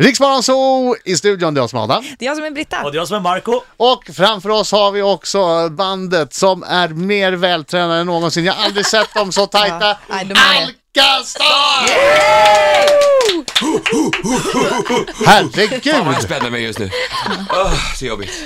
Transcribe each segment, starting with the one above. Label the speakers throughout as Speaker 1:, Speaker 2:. Speaker 1: Riksmorgon Zoo i studion, det är jag som är Adam.
Speaker 2: Det är jag som är Britta.
Speaker 3: Och det är jag som är Marco.
Speaker 1: Och framför oss har vi också bandet som är mer vältränade än någonsin. Jag har aldrig sett dem så tajta.
Speaker 2: Ja, nej, de är-
Speaker 1: Alcastar! Herregud!
Speaker 4: Fan vad jag spänner mig just nu. Åh, så jobbigt.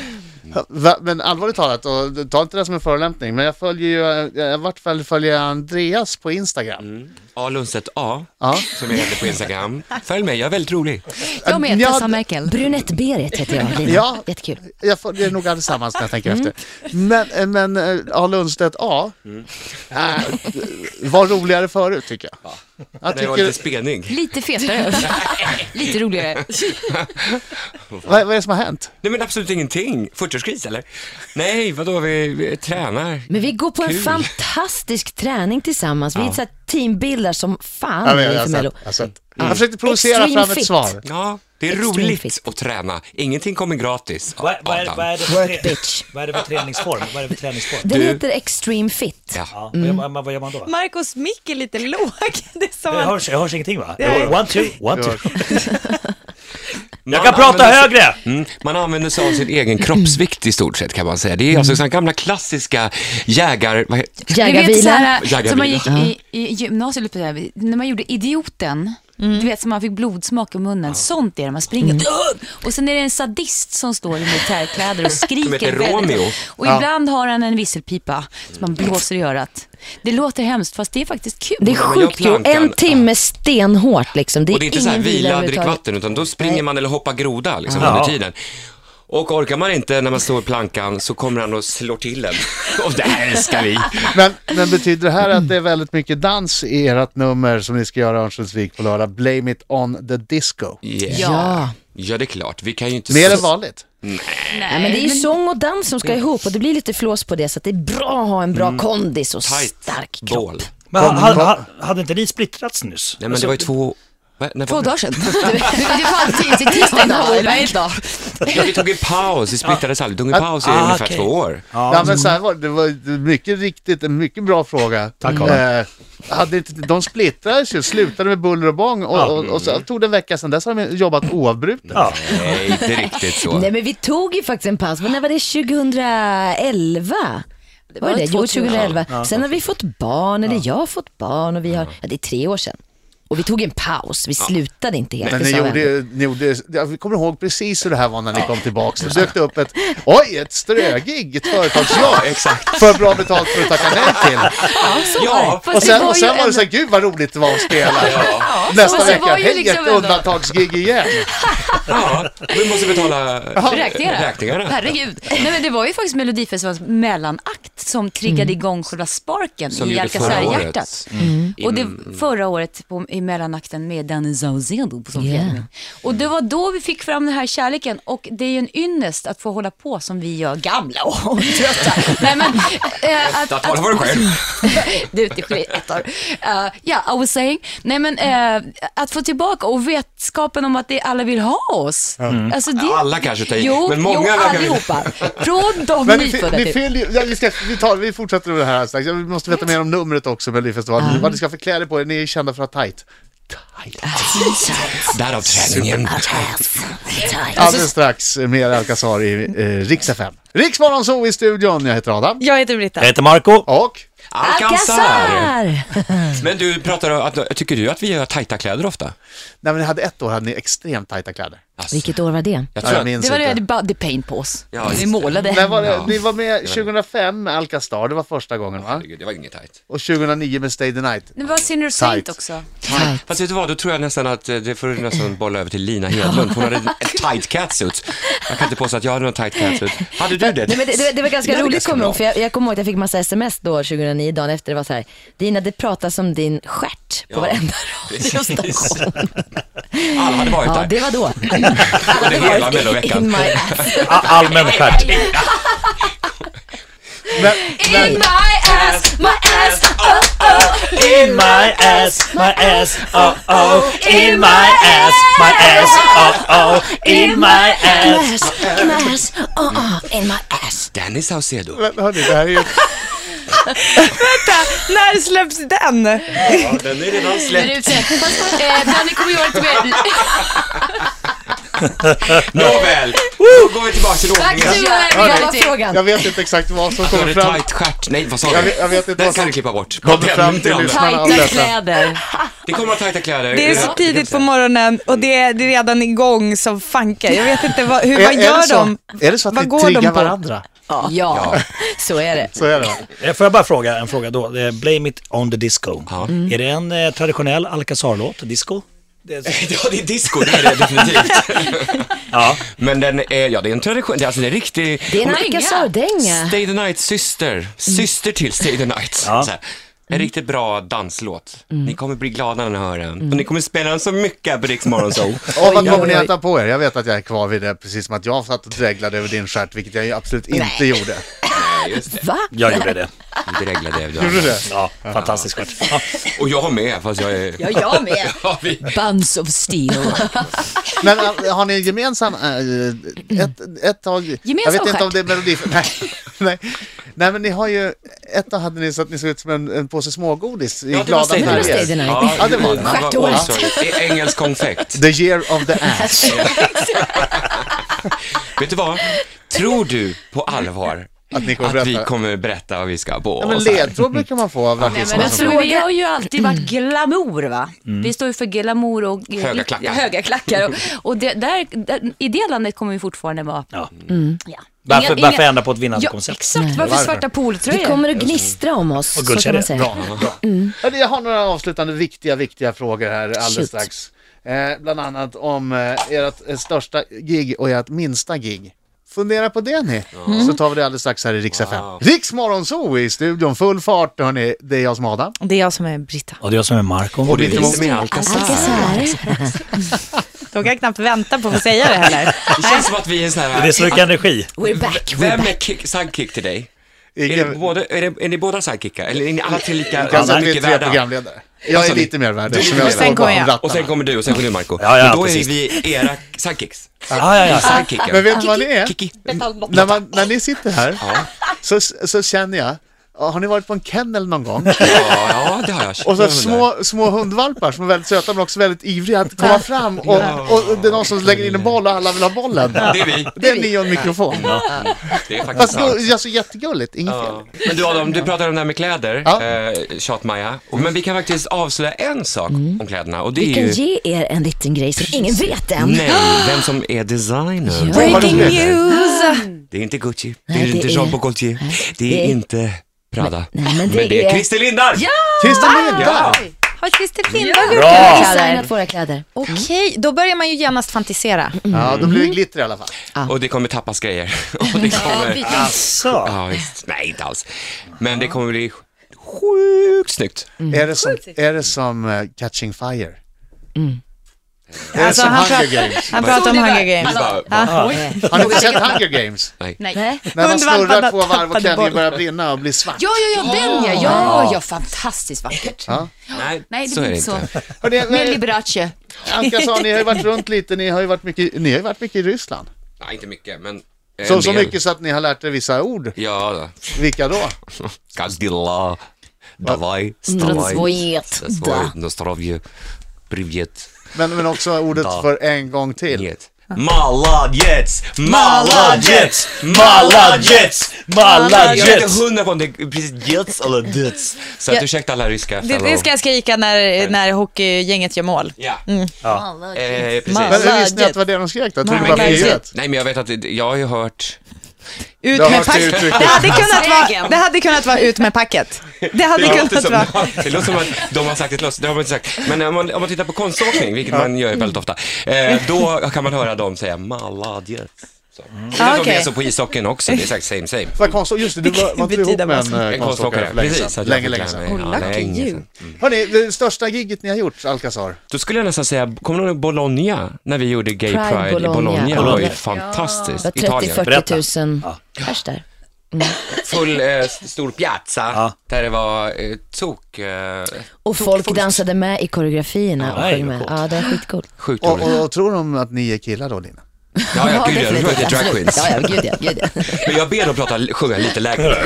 Speaker 1: Va- Men allvarligt talat, och ta inte det som en förolämpning, men jag följer ju, eh, i vart fall följer jag Andreas på Instagram.
Speaker 4: A. Lundstedt A,
Speaker 1: Ja.
Speaker 4: som jag heter på Instagram. Följ mig, jag är väldigt rolig.
Speaker 5: Jag med,
Speaker 1: Ja,
Speaker 5: Tessa
Speaker 1: d-
Speaker 5: Merkel.
Speaker 6: Brunett-Berit heter jag, Lina.
Speaker 1: Ja.
Speaker 6: Jättekul.
Speaker 1: Jag följer nog allesammans när jag tänker
Speaker 6: Mm.
Speaker 1: efter. Men, eh, men eh, A. Lundstedt A, eh, var roligare förut tycker jag. jag
Speaker 4: När jag var lite
Speaker 1: tycker,
Speaker 4: spenig.
Speaker 5: Lite fetare. Lite roligare.
Speaker 1: vad, vad är det som har hänt?
Speaker 4: Nej men absolut ingenting. 40-årskris eller? Nej, vadå, vi, vi tränar.
Speaker 6: Men vi går på en
Speaker 4: Kul.
Speaker 6: fantastisk träning tillsammans. Vi är ett så här teambildar som fan
Speaker 1: Jag, vet, jag, har
Speaker 6: inför Mello.
Speaker 1: sett, jag, har sett. jag försökte provocera
Speaker 6: Extreme
Speaker 1: fram ett
Speaker 6: fit.
Speaker 1: svar.
Speaker 4: Ja, det är
Speaker 6: Extreme
Speaker 4: roligt
Speaker 6: fit.
Speaker 4: att träna. Ingenting kommer gratis.
Speaker 3: Vad, vad, är,
Speaker 4: Adam.
Speaker 3: vad, är det för
Speaker 6: Work
Speaker 3: tre...
Speaker 6: bitch.
Speaker 3: vad är det för träningsform? Vad är det för träningsform?
Speaker 6: Den
Speaker 4: Du-
Speaker 6: heter Extreme Fit.
Speaker 4: Ja.
Speaker 3: Ja, vad, gör man, vad gör man då?
Speaker 2: Marcos mick är lite låg. Det är som
Speaker 3: Jag
Speaker 2: han...
Speaker 3: hörs, jag hörs ingenting va?
Speaker 2: Nej.
Speaker 3: One, two, one, two. Jag
Speaker 4: Man
Speaker 3: kan prata
Speaker 4: använder sig-
Speaker 3: högre!
Speaker 4: Mm, man använder sig av sin egen kroppsvikt i stort sett kan man säga. Det är alltså sådana gamla klassiska jägar... Vad heter...
Speaker 5: Du vet så
Speaker 6: Jägarbilar.
Speaker 5: här, som man gick
Speaker 4: Jägarbilar.
Speaker 5: i, i gymnasiet, eller på det här, när man gjorde idioten. Du vet, som man fick blodsmak i munnen. Sånt är det, man springer. Och sen är det en sadist som står i militärkläder och skriker.
Speaker 4: Som heter
Speaker 5: väldigt-
Speaker 4: Romeo.
Speaker 5: Och ibland har han en visselpipa som man blåser i örat. Det låter hemskt, fast det är faktiskt kul.
Speaker 6: Det är
Speaker 4: jag
Speaker 6: sjukt kul.
Speaker 4: plankar.
Speaker 6: En timme stenhårt liksom. Det är,
Speaker 4: Och det är inte så här
Speaker 6: ingen
Speaker 4: vila, drick
Speaker 6: överhuvudtaget.
Speaker 4: vatten, utan då springer man eller hoppar groda liksom,
Speaker 3: Ja.
Speaker 4: under tiden. Och orkar man inte när man står i plankan så kommer han och slår till en. Och det här älskar vi.
Speaker 1: Men, men betyder det här att det är väldigt mycket dans i ert nummer som ni ska göra i Örnsköldsvik på lördag? Blame it on the disco.
Speaker 4: Yeah.
Speaker 6: Ja.
Speaker 4: Ja, det är klart. Vi kan ju inte...
Speaker 1: Mer än vanligt.
Speaker 6: Nej, men det är ju sång och dans som
Speaker 4: Mm.
Speaker 6: ska ihop och det blir lite flås på det så att det är bra att ha en bra kondis och
Speaker 4: Tight
Speaker 6: stark kropp.
Speaker 4: Bål.
Speaker 3: Men ha, ha, ha, hade inte ni splittrats nyss?
Speaker 4: Nej, men det var ju två... Va? När
Speaker 5: Två
Speaker 4: var det?
Speaker 5: dagar sedan. Det var tisdag, tisdag idag, eller? idag.
Speaker 4: Ja, vi tog en paus, vi splittrades aldrig. Vi tog en paus i
Speaker 3: Ah,
Speaker 4: ungefär
Speaker 3: okej.
Speaker 4: två år.
Speaker 1: Ja, men så här var det. det, var mycket riktigt en mycket bra fråga. Tack eh, hade inte, De splittrades ju, slutade med buller och bång och, och, och så tog det en vecka sedan dess har de jobbat oavbrutet.
Speaker 3: Ja.
Speaker 4: Nej, inte riktigt så.
Speaker 6: Nej men vi tog ju faktiskt en paus, men när var det? 2011? Det var ju
Speaker 5: Ja,
Speaker 6: det, jo
Speaker 5: 2011.
Speaker 6: 2011. Sen har vi fått barn, eller jag har fått barn och vi har, ja det är tre år sedan. Och vi tog en paus, vi slutade inte helt.
Speaker 1: Men
Speaker 6: det
Speaker 1: ni
Speaker 6: sa vi ändå.
Speaker 1: gjorde, ni gjorde, jag kommer ihåg precis hur det här var när ni kom tillbaks. Det dök det upp ett, oj, ett strögig, ett företagsjobb.
Speaker 4: exakt.
Speaker 1: För bra betalt för att tacka nej till.
Speaker 5: Ja, så
Speaker 4: Ja,
Speaker 5: var det. Fast
Speaker 1: Och sen,
Speaker 5: det
Speaker 1: och sen
Speaker 5: ju
Speaker 1: var det
Speaker 5: en-
Speaker 1: så här, gud vad roligt det var att spela. Nästa
Speaker 5: och så
Speaker 1: vecka,
Speaker 5: var ju
Speaker 1: hej,
Speaker 5: liksom
Speaker 1: ett
Speaker 5: ändå-
Speaker 1: undantagsgig igen.
Speaker 4: Ja, vi måste betala
Speaker 5: Räkningarna.
Speaker 4: räkningarna.
Speaker 5: Herregud. Nej, men det var ju faktiskt Melodifestivalens mellanakt som triggade igång själva sparken
Speaker 4: Som
Speaker 5: i
Speaker 4: vi gjorde förra året.
Speaker 5: Alcazar-hjärtat.
Speaker 4: Mm.
Speaker 5: Och det förra året på, i mellanakten med Danny Saucedo på som
Speaker 6: Yeah.
Speaker 5: yeah. Och det var då vi fick fram den här kärleken och det är ju en ynnest att få hålla på som vi gör, gamla och trötta. Nej, men, eh, att,
Speaker 4: Att tala för dig själv.
Speaker 5: du till skit, ett år. Eh, Ja, I was saying. Nej men eh, att få tillbaka och vetskapen om att det alla vill ha oss. Alltså, det...
Speaker 4: Ja, alla kanske tar i,
Speaker 5: Jo,
Speaker 4: Typ. men många
Speaker 5: jo
Speaker 4: verkar vilja.
Speaker 5: allihopa. Från de
Speaker 1: Men ni, fi-
Speaker 5: nyfödda
Speaker 1: ni
Speaker 5: till.
Speaker 1: fyller ju- ja, vi, ska, vi, tar, vi fortsätter med det här strax. Vi måste veta mer om numret också, Melodifestivalen. Vad ni ska för kläder på er, ni är kända för att ha tight.
Speaker 4: Därav träningen.
Speaker 2: Alltså-
Speaker 1: Alldeles strax mer Alcazar i eh, Rix FM. Rix Morgonzoo i studion, jag heter Adam.
Speaker 2: Jag heter Britta.
Speaker 3: Jag heter Marco.
Speaker 1: Och
Speaker 4: Alcazar!
Speaker 6: Alcazar!
Speaker 4: Men du pratar om att, tycker du att vi har tajta kläder ofta?
Speaker 1: Nej men ni hade ett år hade ni extremt tajta kläder.
Speaker 4: Alltså,
Speaker 6: Vilket år var det?
Speaker 4: jag
Speaker 1: Ja,
Speaker 4: tror
Speaker 1: jag
Speaker 4: att,
Speaker 1: minns
Speaker 5: Det var det jag
Speaker 1: inte.
Speaker 5: hade body paint på oss.
Speaker 4: Ja, just
Speaker 5: vi
Speaker 4: det.
Speaker 5: målade.
Speaker 1: När var det,
Speaker 4: Ja.
Speaker 1: ni var med 2005 med Alcastar, det var första gången va?
Speaker 4: herregud, det var inget tajt.
Speaker 1: Och 2009 med Stay the Night.
Speaker 5: Det var Sinner Saint
Speaker 1: Tight.
Speaker 5: också.
Speaker 4: Fast vet du vad, då tror jag nästan att eh, det får du nästan bolla över till Lina Hedlund. Hon hade ett tight catsuit. Jag kan inte påstå att jag hade någon tight catsuit. Hade du det?
Speaker 6: Nej, men det, det, det var ganska
Speaker 4: Jag hade
Speaker 6: roligt
Speaker 4: ganska
Speaker 6: kommer jag ihåg,
Speaker 4: bra.
Speaker 6: för jag, jag kommer ihåg att jag fick massa sms då 2009, dagen efter, det var så här, Dina det pratas om din stjärt på varenda
Speaker 4: Precis. Alla hade varit
Speaker 6: Ja,
Speaker 4: där.
Speaker 6: det var då.
Speaker 4: Under hela
Speaker 6: In
Speaker 4: melloveckan.
Speaker 6: my ass.
Speaker 3: Allmän stjärt.
Speaker 1: Men,
Speaker 5: In my ass, my ass,
Speaker 3: In my ass, my ass, oh oh. In my ass, my ass, oh oh. In my ass.
Speaker 6: In my ass. Oh, oh. In my ass.
Speaker 4: Danny Saucedo.
Speaker 1: men hörni, det här är ju...
Speaker 2: När släpps den?
Speaker 4: Ja, den är redan släppt.
Speaker 5: Fast, eh, Danny kommer göra lite mer...
Speaker 4: Nåväl, då går vi tillbaka till
Speaker 5: Tack så
Speaker 4: ordningen.
Speaker 5: mycket.
Speaker 6: Vad var frågan?
Speaker 1: Jag vet inte exakt vad som
Speaker 4: Så är
Speaker 1: kommer
Speaker 4: Alltså, det
Speaker 1: fram.
Speaker 4: tight stjärt. Nej, vad sa
Speaker 1: Jag vet- jag vet
Speaker 4: du?
Speaker 1: inte
Speaker 4: Den
Speaker 1: vad
Speaker 4: kan
Speaker 1: som-
Speaker 4: du klippa bort.
Speaker 1: Kommer
Speaker 4: Den,
Speaker 1: fram till
Speaker 4: den.
Speaker 1: lyssnarna.
Speaker 5: Tajta kläder.
Speaker 4: Det kommer att vara tajta kläder.
Speaker 2: Det är så
Speaker 4: Ja,
Speaker 2: tidigt på
Speaker 4: kan jag
Speaker 2: morgonen och det är, det är redan igång som fanken. Jag vet inte, vad, hur,
Speaker 1: Är-
Speaker 2: vad
Speaker 1: är
Speaker 2: gör
Speaker 1: det så?
Speaker 2: de?
Speaker 1: Är det så att
Speaker 2: Vad
Speaker 1: ni
Speaker 2: går de
Speaker 1: triggar
Speaker 2: på?
Speaker 1: varandra?
Speaker 6: Ja, så är det.
Speaker 1: Så är det va?
Speaker 3: Eh, Får jag bara fråga en fråga då? Eh, Blame it on the disco.
Speaker 4: Ja.
Speaker 3: Är det en eh, traditionell Alcazar-låt, disco? Det-
Speaker 4: säga. Ja, det är disco, det är det definitivt.
Speaker 3: Ja.
Speaker 4: Men den är, ja det är en tradition, det är, alltså, det är riktig...
Speaker 6: Det är en
Speaker 5: Om-
Speaker 6: Alcazar-dänga.
Speaker 4: Stay the night syster, syster till Stay the night.
Speaker 3: Ja.
Speaker 4: Så här. En riktigt bra danslåt. Ni kommer bli glada när ni hör den. Och ni kommer spela den så mycket här på Rix Morgonzoo.
Speaker 1: Och vad
Speaker 6: Oj,
Speaker 1: kommer
Speaker 6: oj,
Speaker 1: ni
Speaker 6: oj.
Speaker 1: att ta på er? Jag vet att jag är kvar vid det, precis som att jag satt och dreglade över din stjärt, vilket jag ju absolut inte gjorde.
Speaker 4: Nej, just det.
Speaker 6: Va?
Speaker 3: Jag gjorde det.
Speaker 4: Inte regla det. du.
Speaker 1: Gjorde du det?
Speaker 3: Ja, fantastisk stjärt. Ja.
Speaker 4: Och jag har med, fast jag är...
Speaker 6: Ja, jag med.
Speaker 4: Ja, vi...
Speaker 5: Buns of steel.
Speaker 1: Men äh, har ni en gemensam, äh, ett, ett tag, jag
Speaker 5: Gemensam
Speaker 1: vet inte om
Speaker 5: stjärt?
Speaker 1: det är melodi, nej, nej, nej men ni har ju, ett tag hade ni så att ni såg ut som en, en påse smågodis i glada
Speaker 4: Stay the
Speaker 6: färger.
Speaker 4: Night.
Speaker 6: Det var Stay the Night.
Speaker 4: Ja,
Speaker 1: Ja, det var det.
Speaker 4: Oj, sorry. Det är Engelsk konfekt.
Speaker 1: The year of the ass.
Speaker 4: Vet du vad? Tror du på allvar
Speaker 1: Att ni kommer
Speaker 4: att vi
Speaker 1: berätta.
Speaker 4: kommer berätta vad vi ska på
Speaker 1: Ja, men
Speaker 4: oss här?
Speaker 1: ledtråd brukar man få av
Speaker 5: Men
Speaker 1: artisterna.
Speaker 5: alltså,
Speaker 1: som-
Speaker 5: vi har ju alltid varit glamour va? Vi står ju för glamour och
Speaker 4: Höga klackar.
Speaker 5: Ja, höga klackar. Och, och det, där, där, i det landet kommer vi fortfarande vara. Mm.
Speaker 3: Ja.
Speaker 5: Ja.
Speaker 3: Varför,
Speaker 5: Inga-
Speaker 3: varför
Speaker 5: inga-
Speaker 3: ändra på ett vinnande
Speaker 5: Ja,
Speaker 3: koncept?
Speaker 5: exakt. Varför
Speaker 1: Varför?
Speaker 5: svarta
Speaker 6: Det
Speaker 5: poltröjor?
Speaker 6: kommer att gnistra om oss,
Speaker 3: Och
Speaker 6: så kan
Speaker 3: guldkedja.
Speaker 6: man säga.
Speaker 3: Bra.
Speaker 1: Ja, det- Jag har några avslutande viktiga, viktiga frågor här alldeles
Speaker 6: Shoot.
Speaker 1: strax. Eh, bland annat om eh, ert eh, största gig och ert minsta gig. Fundera på det ni, så tar vi det alldeles strax här i Rix FM. Rix Morgonzoo i studion, full fart hörni. Det är jag som är Adam.
Speaker 2: Det är jag som är Britta.
Speaker 3: Och det är jag som är Marco.
Speaker 4: Och det är vi
Speaker 1: Lite
Speaker 4: som är Alcazar.
Speaker 6: Alcazar.
Speaker 2: De kan knappt vänta på att få säga det heller.
Speaker 4: Det känns som att vi är sån
Speaker 3: Det är
Speaker 4: här...
Speaker 3: så mycket energi.
Speaker 6: We're back, we're
Speaker 4: Vem
Speaker 6: back.
Speaker 4: är kick, sidekick till dig? Är, det
Speaker 1: Ingen-
Speaker 4: båda, är, det, är ni båda sidekickar? Eller är ni alla tre lika,
Speaker 1: Kanske
Speaker 4: alla
Speaker 1: att vi är
Speaker 4: mycket
Speaker 1: tre
Speaker 4: värda?
Speaker 1: programledare. Jag är
Speaker 4: Alltså,
Speaker 1: lite mer värd eftersom
Speaker 4: är
Speaker 1: jag
Speaker 4: lite mer
Speaker 1: står
Speaker 2: värd. Sen
Speaker 1: bakom
Speaker 2: kommer jag.
Speaker 4: Och sen
Speaker 1: rattarna.
Speaker 4: kommer du och sen kommer du Marco
Speaker 3: Ja, ja,
Speaker 4: Men då
Speaker 3: precis.
Speaker 4: är vi era sidekicks.
Speaker 3: Ja, ja,
Speaker 4: Ni är
Speaker 3: ja.
Speaker 4: sidekickar.
Speaker 1: Men vet du vad ni är?
Speaker 4: Kiki.
Speaker 1: När, man, när ni sitter här så, så känner jag, har ni varit på en kennel någon gång?
Speaker 4: Ja, ja, det har jag.
Speaker 1: Och så
Speaker 4: Jag undrar.
Speaker 1: små, små hundvalpar som är väldigt söta men också väldigt ivriga att komma fram och, och det är någon som slänger in en boll och alla vill ha bollen.
Speaker 4: Det är vi.
Speaker 1: Det är ni och en mikrofon.
Speaker 4: Det är faktiskt
Speaker 1: Fast
Speaker 4: sant.
Speaker 1: det är så jättegulligt, inget fel.
Speaker 4: Ja. Men du Adam, du pratade om det här med kläder,
Speaker 1: Ja.
Speaker 4: eh, tjat-Maja. Och- Men vi kan faktiskt avslöja en sak
Speaker 1: Mm.
Speaker 4: om kläderna och det
Speaker 6: Vi
Speaker 4: är
Speaker 6: kan
Speaker 4: ju...
Speaker 6: ge er en liten grej som ingen
Speaker 4: Mm.
Speaker 6: vet än.
Speaker 4: Nej, vem som är designer.
Speaker 2: Breaking news!
Speaker 4: Det är inte Gucci, det
Speaker 6: Nej,
Speaker 4: är inte
Speaker 6: det är-
Speaker 4: Jean Paul Gaultier, det
Speaker 6: det
Speaker 4: är
Speaker 6: är-
Speaker 4: inte Prada.
Speaker 6: nej, men det
Speaker 4: det är
Speaker 6: är-
Speaker 4: Christer Lindar!
Speaker 1: Christer Lindberg!
Speaker 4: Ja.
Speaker 2: Har Christer Lindberg gjort
Speaker 6: Vi
Speaker 3: Bra!
Speaker 6: har
Speaker 2: det här?
Speaker 6: designat våra kläder.
Speaker 2: Okej, då börjar man ju genast fantisera.
Speaker 1: Ja, då blir det glitter i alla fall.
Speaker 4: Och det kommer tappas grejer. Och det kommer... Alltså!
Speaker 3: Så.
Speaker 4: Ja, visst. Nej, inte alls. Men det kommer bli sjukt snyggt.
Speaker 1: Är det som, är det som eh, Catching Fire? Är det
Speaker 2: Alltså,
Speaker 1: som
Speaker 2: han
Speaker 1: Hunger Games?
Speaker 2: Han pratar om Hunger Games.
Speaker 4: Bara,
Speaker 2: Ja.
Speaker 1: Har ni inte sett Hunger Games?
Speaker 6: Nej.
Speaker 1: När man
Speaker 2: Hundvalparna
Speaker 1: snurrar två varv och
Speaker 2: tappade
Speaker 1: klänningen
Speaker 2: bollen.
Speaker 1: börjar brinna och blir svart.
Speaker 5: Ja, ja, ja, den ja. Ja, ja, fantastiskt vackert.
Speaker 4: nej,
Speaker 5: Nej, det
Speaker 4: så är
Speaker 5: blir
Speaker 4: det
Speaker 5: inte så.
Speaker 4: inte.
Speaker 1: Hörrni,
Speaker 5: Mer
Speaker 1: eh,
Speaker 5: Liberace.
Speaker 1: Anka sa, ni har ju varit runt lite, ni har ju varit mycket, ni har ju varit mycket i Ryssland.
Speaker 4: Nej, inte mycket, men... en
Speaker 1: Så, så
Speaker 4: del.
Speaker 1: mycket så att ni har lärt er vissa ord.
Speaker 4: Ja, då.
Speaker 1: Vilka då?
Speaker 4: Godzilla. Давай, вставай.
Speaker 6: Здравствует,
Speaker 4: Здравствуй, на здоровье. Привет.
Speaker 1: Men, men också ordet
Speaker 4: Da.
Speaker 1: för en gång till.
Speaker 4: Нет. Молодец!
Speaker 3: Молодец!
Speaker 4: Молодец!
Speaker 3: Молодец!
Speaker 4: Jag vet inte
Speaker 3: Молодец!
Speaker 4: hundra på om det är precis jets eller dets. Så att
Speaker 2: Ja.
Speaker 4: ursäkta alla ryska
Speaker 2: Det, det ska Mm. jag skrika när, när hockeygänget gör mål.
Speaker 4: Ja, eh,
Speaker 6: Eh,
Speaker 1: Men
Speaker 4: precis.
Speaker 2: Mal-
Speaker 1: hur visste ni att det var det de skrek då? Trodde ni bara
Speaker 4: Men,
Speaker 1: var
Speaker 4: nej,
Speaker 1: EU-rätt?
Speaker 4: nej, men jag vet att det- jag har ju hört...
Speaker 2: Ut
Speaker 1: Jag har
Speaker 2: med
Speaker 1: hört det
Speaker 2: packet.
Speaker 1: uttrycket.
Speaker 2: Det hade, kunnat vara, det hade kunnat vara ut med packet. Det hade kunnat
Speaker 4: som,
Speaker 2: vara.
Speaker 4: det låter som att de har sagt ett löst, det har de inte sagt. Men om man, om man tittar på konståkning, vilket man gör väldigt ofta, eh, då kan man höra dem säga maladjes. Så. Det är
Speaker 2: Ah,
Speaker 4: de
Speaker 2: okej.
Speaker 4: är så på ishocyn också, det är sagt same same.
Speaker 1: Vad konstigt, just det, du var, var inte du ihop
Speaker 2: betyder
Speaker 1: med
Speaker 2: vad som-
Speaker 1: en eh,
Speaker 4: En konståkare,
Speaker 1: konståkare för länge
Speaker 4: precis. så
Speaker 1: sedan?
Speaker 4: att jag
Speaker 1: Länge,
Speaker 4: fick
Speaker 1: länge
Speaker 4: lära
Speaker 1: sedan.
Speaker 4: mig. Ja, länge sedan.
Speaker 1: Hörni, det största gigget ni har gjort, Alcazar?
Speaker 4: Då skulle jag nästan säga, kommer du ihåg Bologna? När vi gjorde Gay
Speaker 6: Pride
Speaker 4: Pride, i Bologna.
Speaker 6: Bologna.
Speaker 4: Det var ju
Speaker 6: Ja.
Speaker 4: fantastiskt.
Speaker 6: Det var
Speaker 4: Italien.
Speaker 6: 30-40 000 pers där.
Speaker 4: Full eh, s- stor piazza,
Speaker 3: Ja.
Speaker 4: där det var eh, tok... Eh,
Speaker 6: Och folk dansade med i koreografierna och
Speaker 3: nej,
Speaker 6: sjöng
Speaker 3: vad
Speaker 6: med.
Speaker 3: coolt.
Speaker 6: Ja, det är skitcoolt.
Speaker 4: sjukt
Speaker 1: Och,
Speaker 4: roligt.
Speaker 1: och, och tror de att ni är killar då, Lina?
Speaker 4: Ja, ja, gud ja. Då tror jag
Speaker 6: definitivt,
Speaker 4: att det är drag
Speaker 6: absolut.
Speaker 4: queens.
Speaker 6: Ja, ja, gud ja, gud ja.
Speaker 4: Men jag ber dem prata, sjunga lite lägre.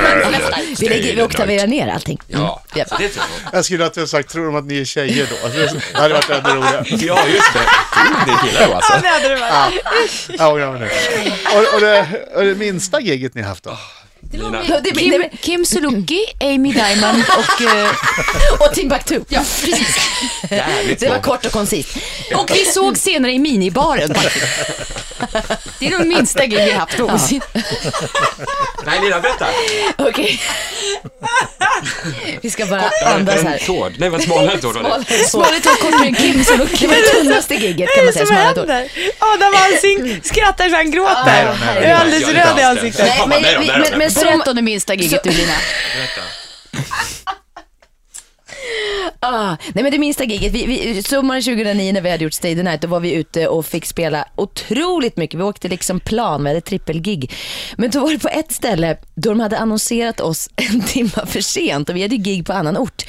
Speaker 6: Vi, lägger, vi oktaverar ner allting.
Speaker 4: Ja,
Speaker 6: Mm, Ja.
Speaker 4: så det tror jag.
Speaker 1: Jag skulle att du har sagt, tror de att ni är tjejer då? Det hade varit ännu roligare.
Speaker 4: Ja, just det. Mm, Det gillar jag alltså.
Speaker 2: Ja, det hade det varit.
Speaker 1: Ja, jag menar det. Och, och, det, och det minsta giget ni haft då?
Speaker 6: Ja, det blir-
Speaker 5: Kim, Kim Sulocki, Amy Diamond och... eh,
Speaker 6: Och Timbuktu. Ja, precis.
Speaker 4: Jävligt
Speaker 6: Det var
Speaker 4: bra.
Speaker 6: kort och koncist.
Speaker 5: och vi såg senare i minibaren. Det är nog minsta gig vi haft någonsin.
Speaker 4: Nej, Lina, berätta.
Speaker 6: Okej. Vi ska bara andas
Speaker 4: En
Speaker 6: här.
Speaker 4: tård. Nej, vad smalare en tård var det.
Speaker 6: Smalare tår kortare än Kim Sulocki. Det var det tunnaste giget kan
Speaker 2: Vad är
Speaker 6: man säga.
Speaker 2: det som
Speaker 6: Smalare tår.
Speaker 2: händer? Adam Alsing skrattar så han
Speaker 1: Nej då,
Speaker 2: gråter.
Speaker 1: nej då.
Speaker 2: Jag är alldeles
Speaker 4: Jag är inte
Speaker 2: röd i
Speaker 4: alls det.
Speaker 2: ansiktet.
Speaker 4: Fan,
Speaker 6: men,
Speaker 4: där är de, där är de.
Speaker 6: men, men som,
Speaker 5: Berätta om det minsta giget du Lina.
Speaker 6: ah, nej men det minsta giget, vi, vi, sommaren 2009 när vi hade gjort Stay the Night, då var vi ute och fick spela otroligt mycket. Vi åkte liksom plan, vi hade trippelgig. Men då var det på ett ställe då de hade annonserat oss en timma för sent och vi hade ju gig på annan ort.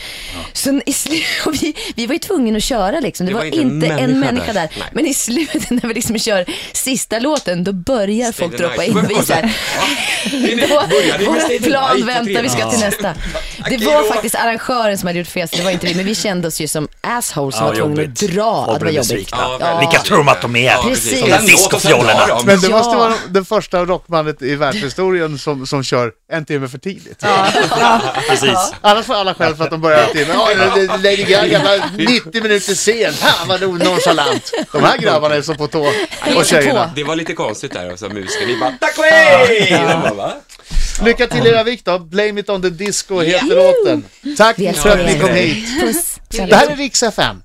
Speaker 6: Så i slu- och vi, vi var ju tvungna att köra liksom. Det, var, inte en människa där.
Speaker 4: Nej.
Speaker 6: Men i slutet när vi liksom kör sista låten, då börjar folk
Speaker 4: the
Speaker 6: droppa
Speaker 4: Night.
Speaker 6: in. Och vi så här,
Speaker 4: Ja. Började med
Speaker 6: våra
Speaker 4: Stay the
Speaker 6: plan
Speaker 4: Night på
Speaker 6: väntar, vi ska till nästa. Det var faktiskt arrangören som hade gjort fel, så det var inte vi. Men vi kände oss ju som assholes som
Speaker 3: Ja,
Speaker 6: var tvungna att
Speaker 3: jobbigt.
Speaker 6: dra. att
Speaker 3: Folk
Speaker 6: det var
Speaker 3: blev
Speaker 6: jobbigt.
Speaker 3: besvikna.
Speaker 6: Ja.
Speaker 4: väldigt.
Speaker 6: Vilka
Speaker 3: tror de att de är?
Speaker 4: Ja,
Speaker 6: Precis.
Speaker 4: De där
Speaker 3: Discofjolerna.
Speaker 4: låten drar dem.
Speaker 1: Men det
Speaker 6: Ja.
Speaker 1: måste vara den första rockbandet i världshistorien som, som kör en timme för tidigt.
Speaker 3: Precis.
Speaker 1: Annars får alla skäll för att de börjar en timme. Ja, det- det- Lady Gaga var 90 minuter sen. Fan vad nonchalant. De här grabbarna är så på tå. Och tjejerna.
Speaker 4: Det var lite konstigt där, och så musiken. Vi bara, tack och hej! De bara, va?
Speaker 1: Lycka till era vikt då. Blame it on the disco heter låten. Tack
Speaker 6: Vi
Speaker 1: för att ni
Speaker 6: älskar
Speaker 1: kom
Speaker 6: er.
Speaker 1: hit.
Speaker 6: Puss.
Speaker 1: Det här är Rix FM.